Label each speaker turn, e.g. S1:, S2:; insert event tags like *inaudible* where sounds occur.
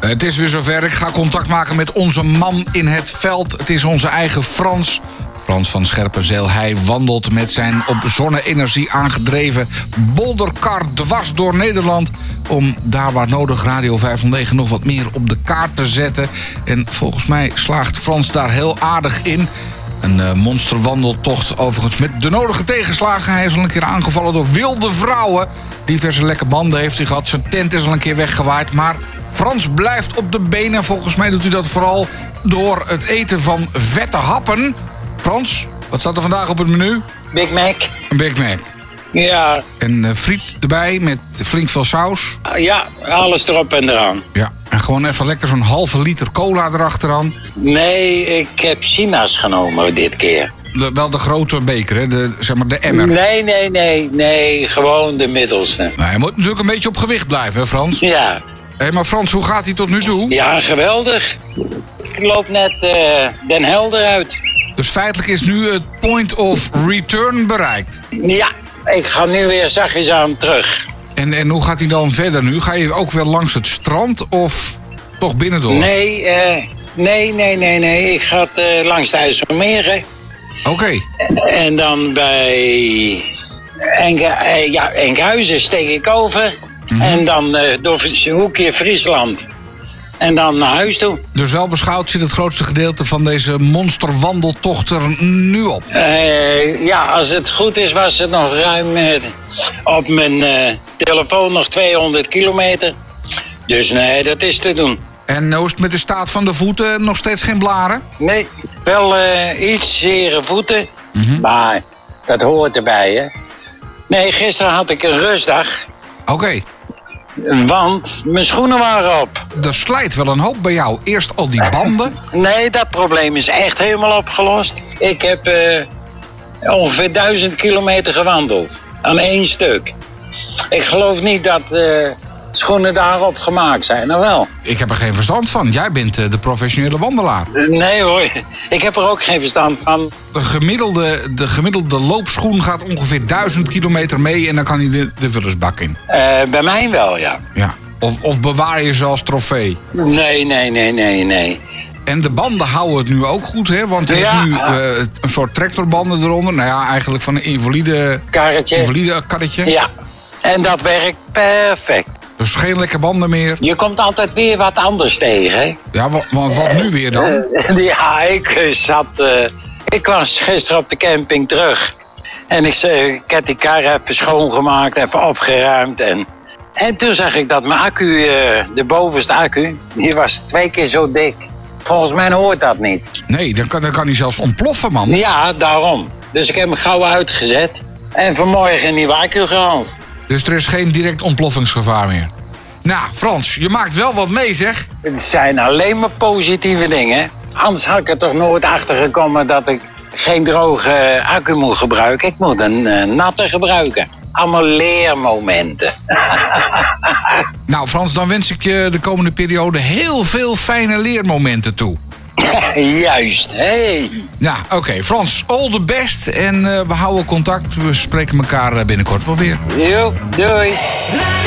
S1: Het is weer zover. Ik ga contact maken met onze man in het veld. Het is onze eigen Frans. Frans van Scherpenzeel. Hij wandelt met zijn op zonne-energie aangedreven bolderkar dwars door Nederland. Om daar waar nodig Radio 509 nog wat meer op de kaart te zetten. En volgens mij slaagt Frans daar heel aardig in. Een eh, monsterwandeltocht overigens met de nodige tegenslagen. Hij is al een keer aangevallen door wilde vrouwen. Diverse lekke banden heeft hij gehad. Zijn tent is al een keer weggewaaid. Maar Frans blijft op de benen. Volgens mij doet hij dat vooral door het eten van vette happen. Frans, wat staat er vandaag op het menu?
S2: Big Mac.
S1: Een Big Mac.
S2: Ja,
S1: En eh, friet erbij met flink veel saus.
S2: ja, alles erop en eraan.
S1: Ja, en gewoon even lekker zo'n halve liter cola erachteraan.
S2: Nee, ik heb Sina's genomen dit keer.
S1: De- wel de grote beker, hè? De, zeg maar de emmer.
S2: Nee, nee, nee, nee, gewoon de middelste.
S1: Nou, hij moet natuurlijk een beetje op gewicht blijven, hè Frans?
S2: Ja,
S1: Hé, maar Frans, hoe gaat hij tot nu toe?
S2: ja, geweldig. Ik loop net eh, Den Helder uit.
S1: Dus feitelijk is nu het point of return bereikt.
S2: Ja, ik ga nu weer zachtjes aan terug.
S1: En, en hoe gaat hij dan verder nu? Ga je ook weer langs het strand of toch binnendoor?
S2: Nee, eh, nee, nee, nee, nee, ik ga eh, langs de IJsselmeer. hè.
S1: Oké,
S2: En dan bij Enke, eh, ja, Enkhuizen steek ik over. En dan eh, door een hoekje Friesland. En dan naar huis toe.
S1: dus wel beschouwd zit het grootste gedeelte van deze monsterwandeltocht er nu op.
S2: Eh, ja, als het goed is, was het nog ruim eh, op mijn eh, telefoon nog 200 kilometer. Dus nee, dat is te doen.
S1: En hoe is het met de staat van de voeten? Nog steeds geen blaren?
S2: Nee, wel eh, iets zere voeten. Maar dat hoort erbij, hè? Nee, gisteren had ik een rustdag.
S1: Oké,
S2: Want mijn schoenen waren op.
S1: er slijt wel een hoop bij jou. Eerst al die banden.
S2: Nee, dat probleem is echt helemaal opgelost. Ik heb eh, ongeveer 1000 kilometer gewandeld. Aan één stuk. Ik geloof niet dat eh, schoenen daarop gemaakt zijn, nou wel.
S1: Ik heb er geen verstand van. Jij bent eh, de professionele wandelaar.
S2: Eh, Nee hoor, *laughs* ik heb er ook geen verstand van.
S1: De gemiddelde, de gemiddelde loopschoen gaat ongeveer 1000 kilometer mee en dan kan hij de, de vullersbak in.
S2: Eh, bij mij wel, ja.
S1: Ja. Of, of bewaar je ze als trofee.
S2: Nee, nee, nee, nee, nee.
S1: En de banden houden het nu ook goed, hè? Want er
S2: Ja.
S1: is nu eh, een soort tractorbanden eronder. Nou ja, eigenlijk van een invalide,
S2: Karretje.
S1: invalide karretje.
S2: Ja. En dat werkt perfect.
S1: Dus geen lekke banden meer.
S2: Je komt altijd weer wat anders tegen, hè?
S1: Ja, wa- want wat nu weer dan?
S2: Ja, ik eh, *laughs* zat. eh, ik was gisteren op de camping terug. En ik, zei, ik heb die kar even schoongemaakt, even opgeruimd. En, en toen zag ik dat mijn accu, eh, de bovenste accu, die was twee keer zo dik. Volgens mij hoort dat niet.
S1: Nee, dan kan, dan kan hij zelfs ontploffen, man.
S2: Ja, daarom. Dus ik heb hem gauw uitgezet. En vanmorgen een nieuwe accu gehaald.
S1: Dus er is geen direct ontploffingsgevaar meer. Nou, Frans, je maakt wel wat mee, zeg.
S2: Het zijn alleen maar positieve dingen. Anders had ik er toch nooit achter gekomen dat ik geen droge eh, accu moet gebruiken. Ik moet een eh, natte gebruiken. Allemaal leermomenten. *laughs*
S1: Nou, Frans, dan wens ik je de komende periode heel veel fijne leermomenten toe.
S2: Juist, hey.
S1: Ja, oké. Frans, all the best. En eh, we houden contact. We spreken elkaar eh, binnenkort wel weer.
S2: Joep, doei.
S3: Radio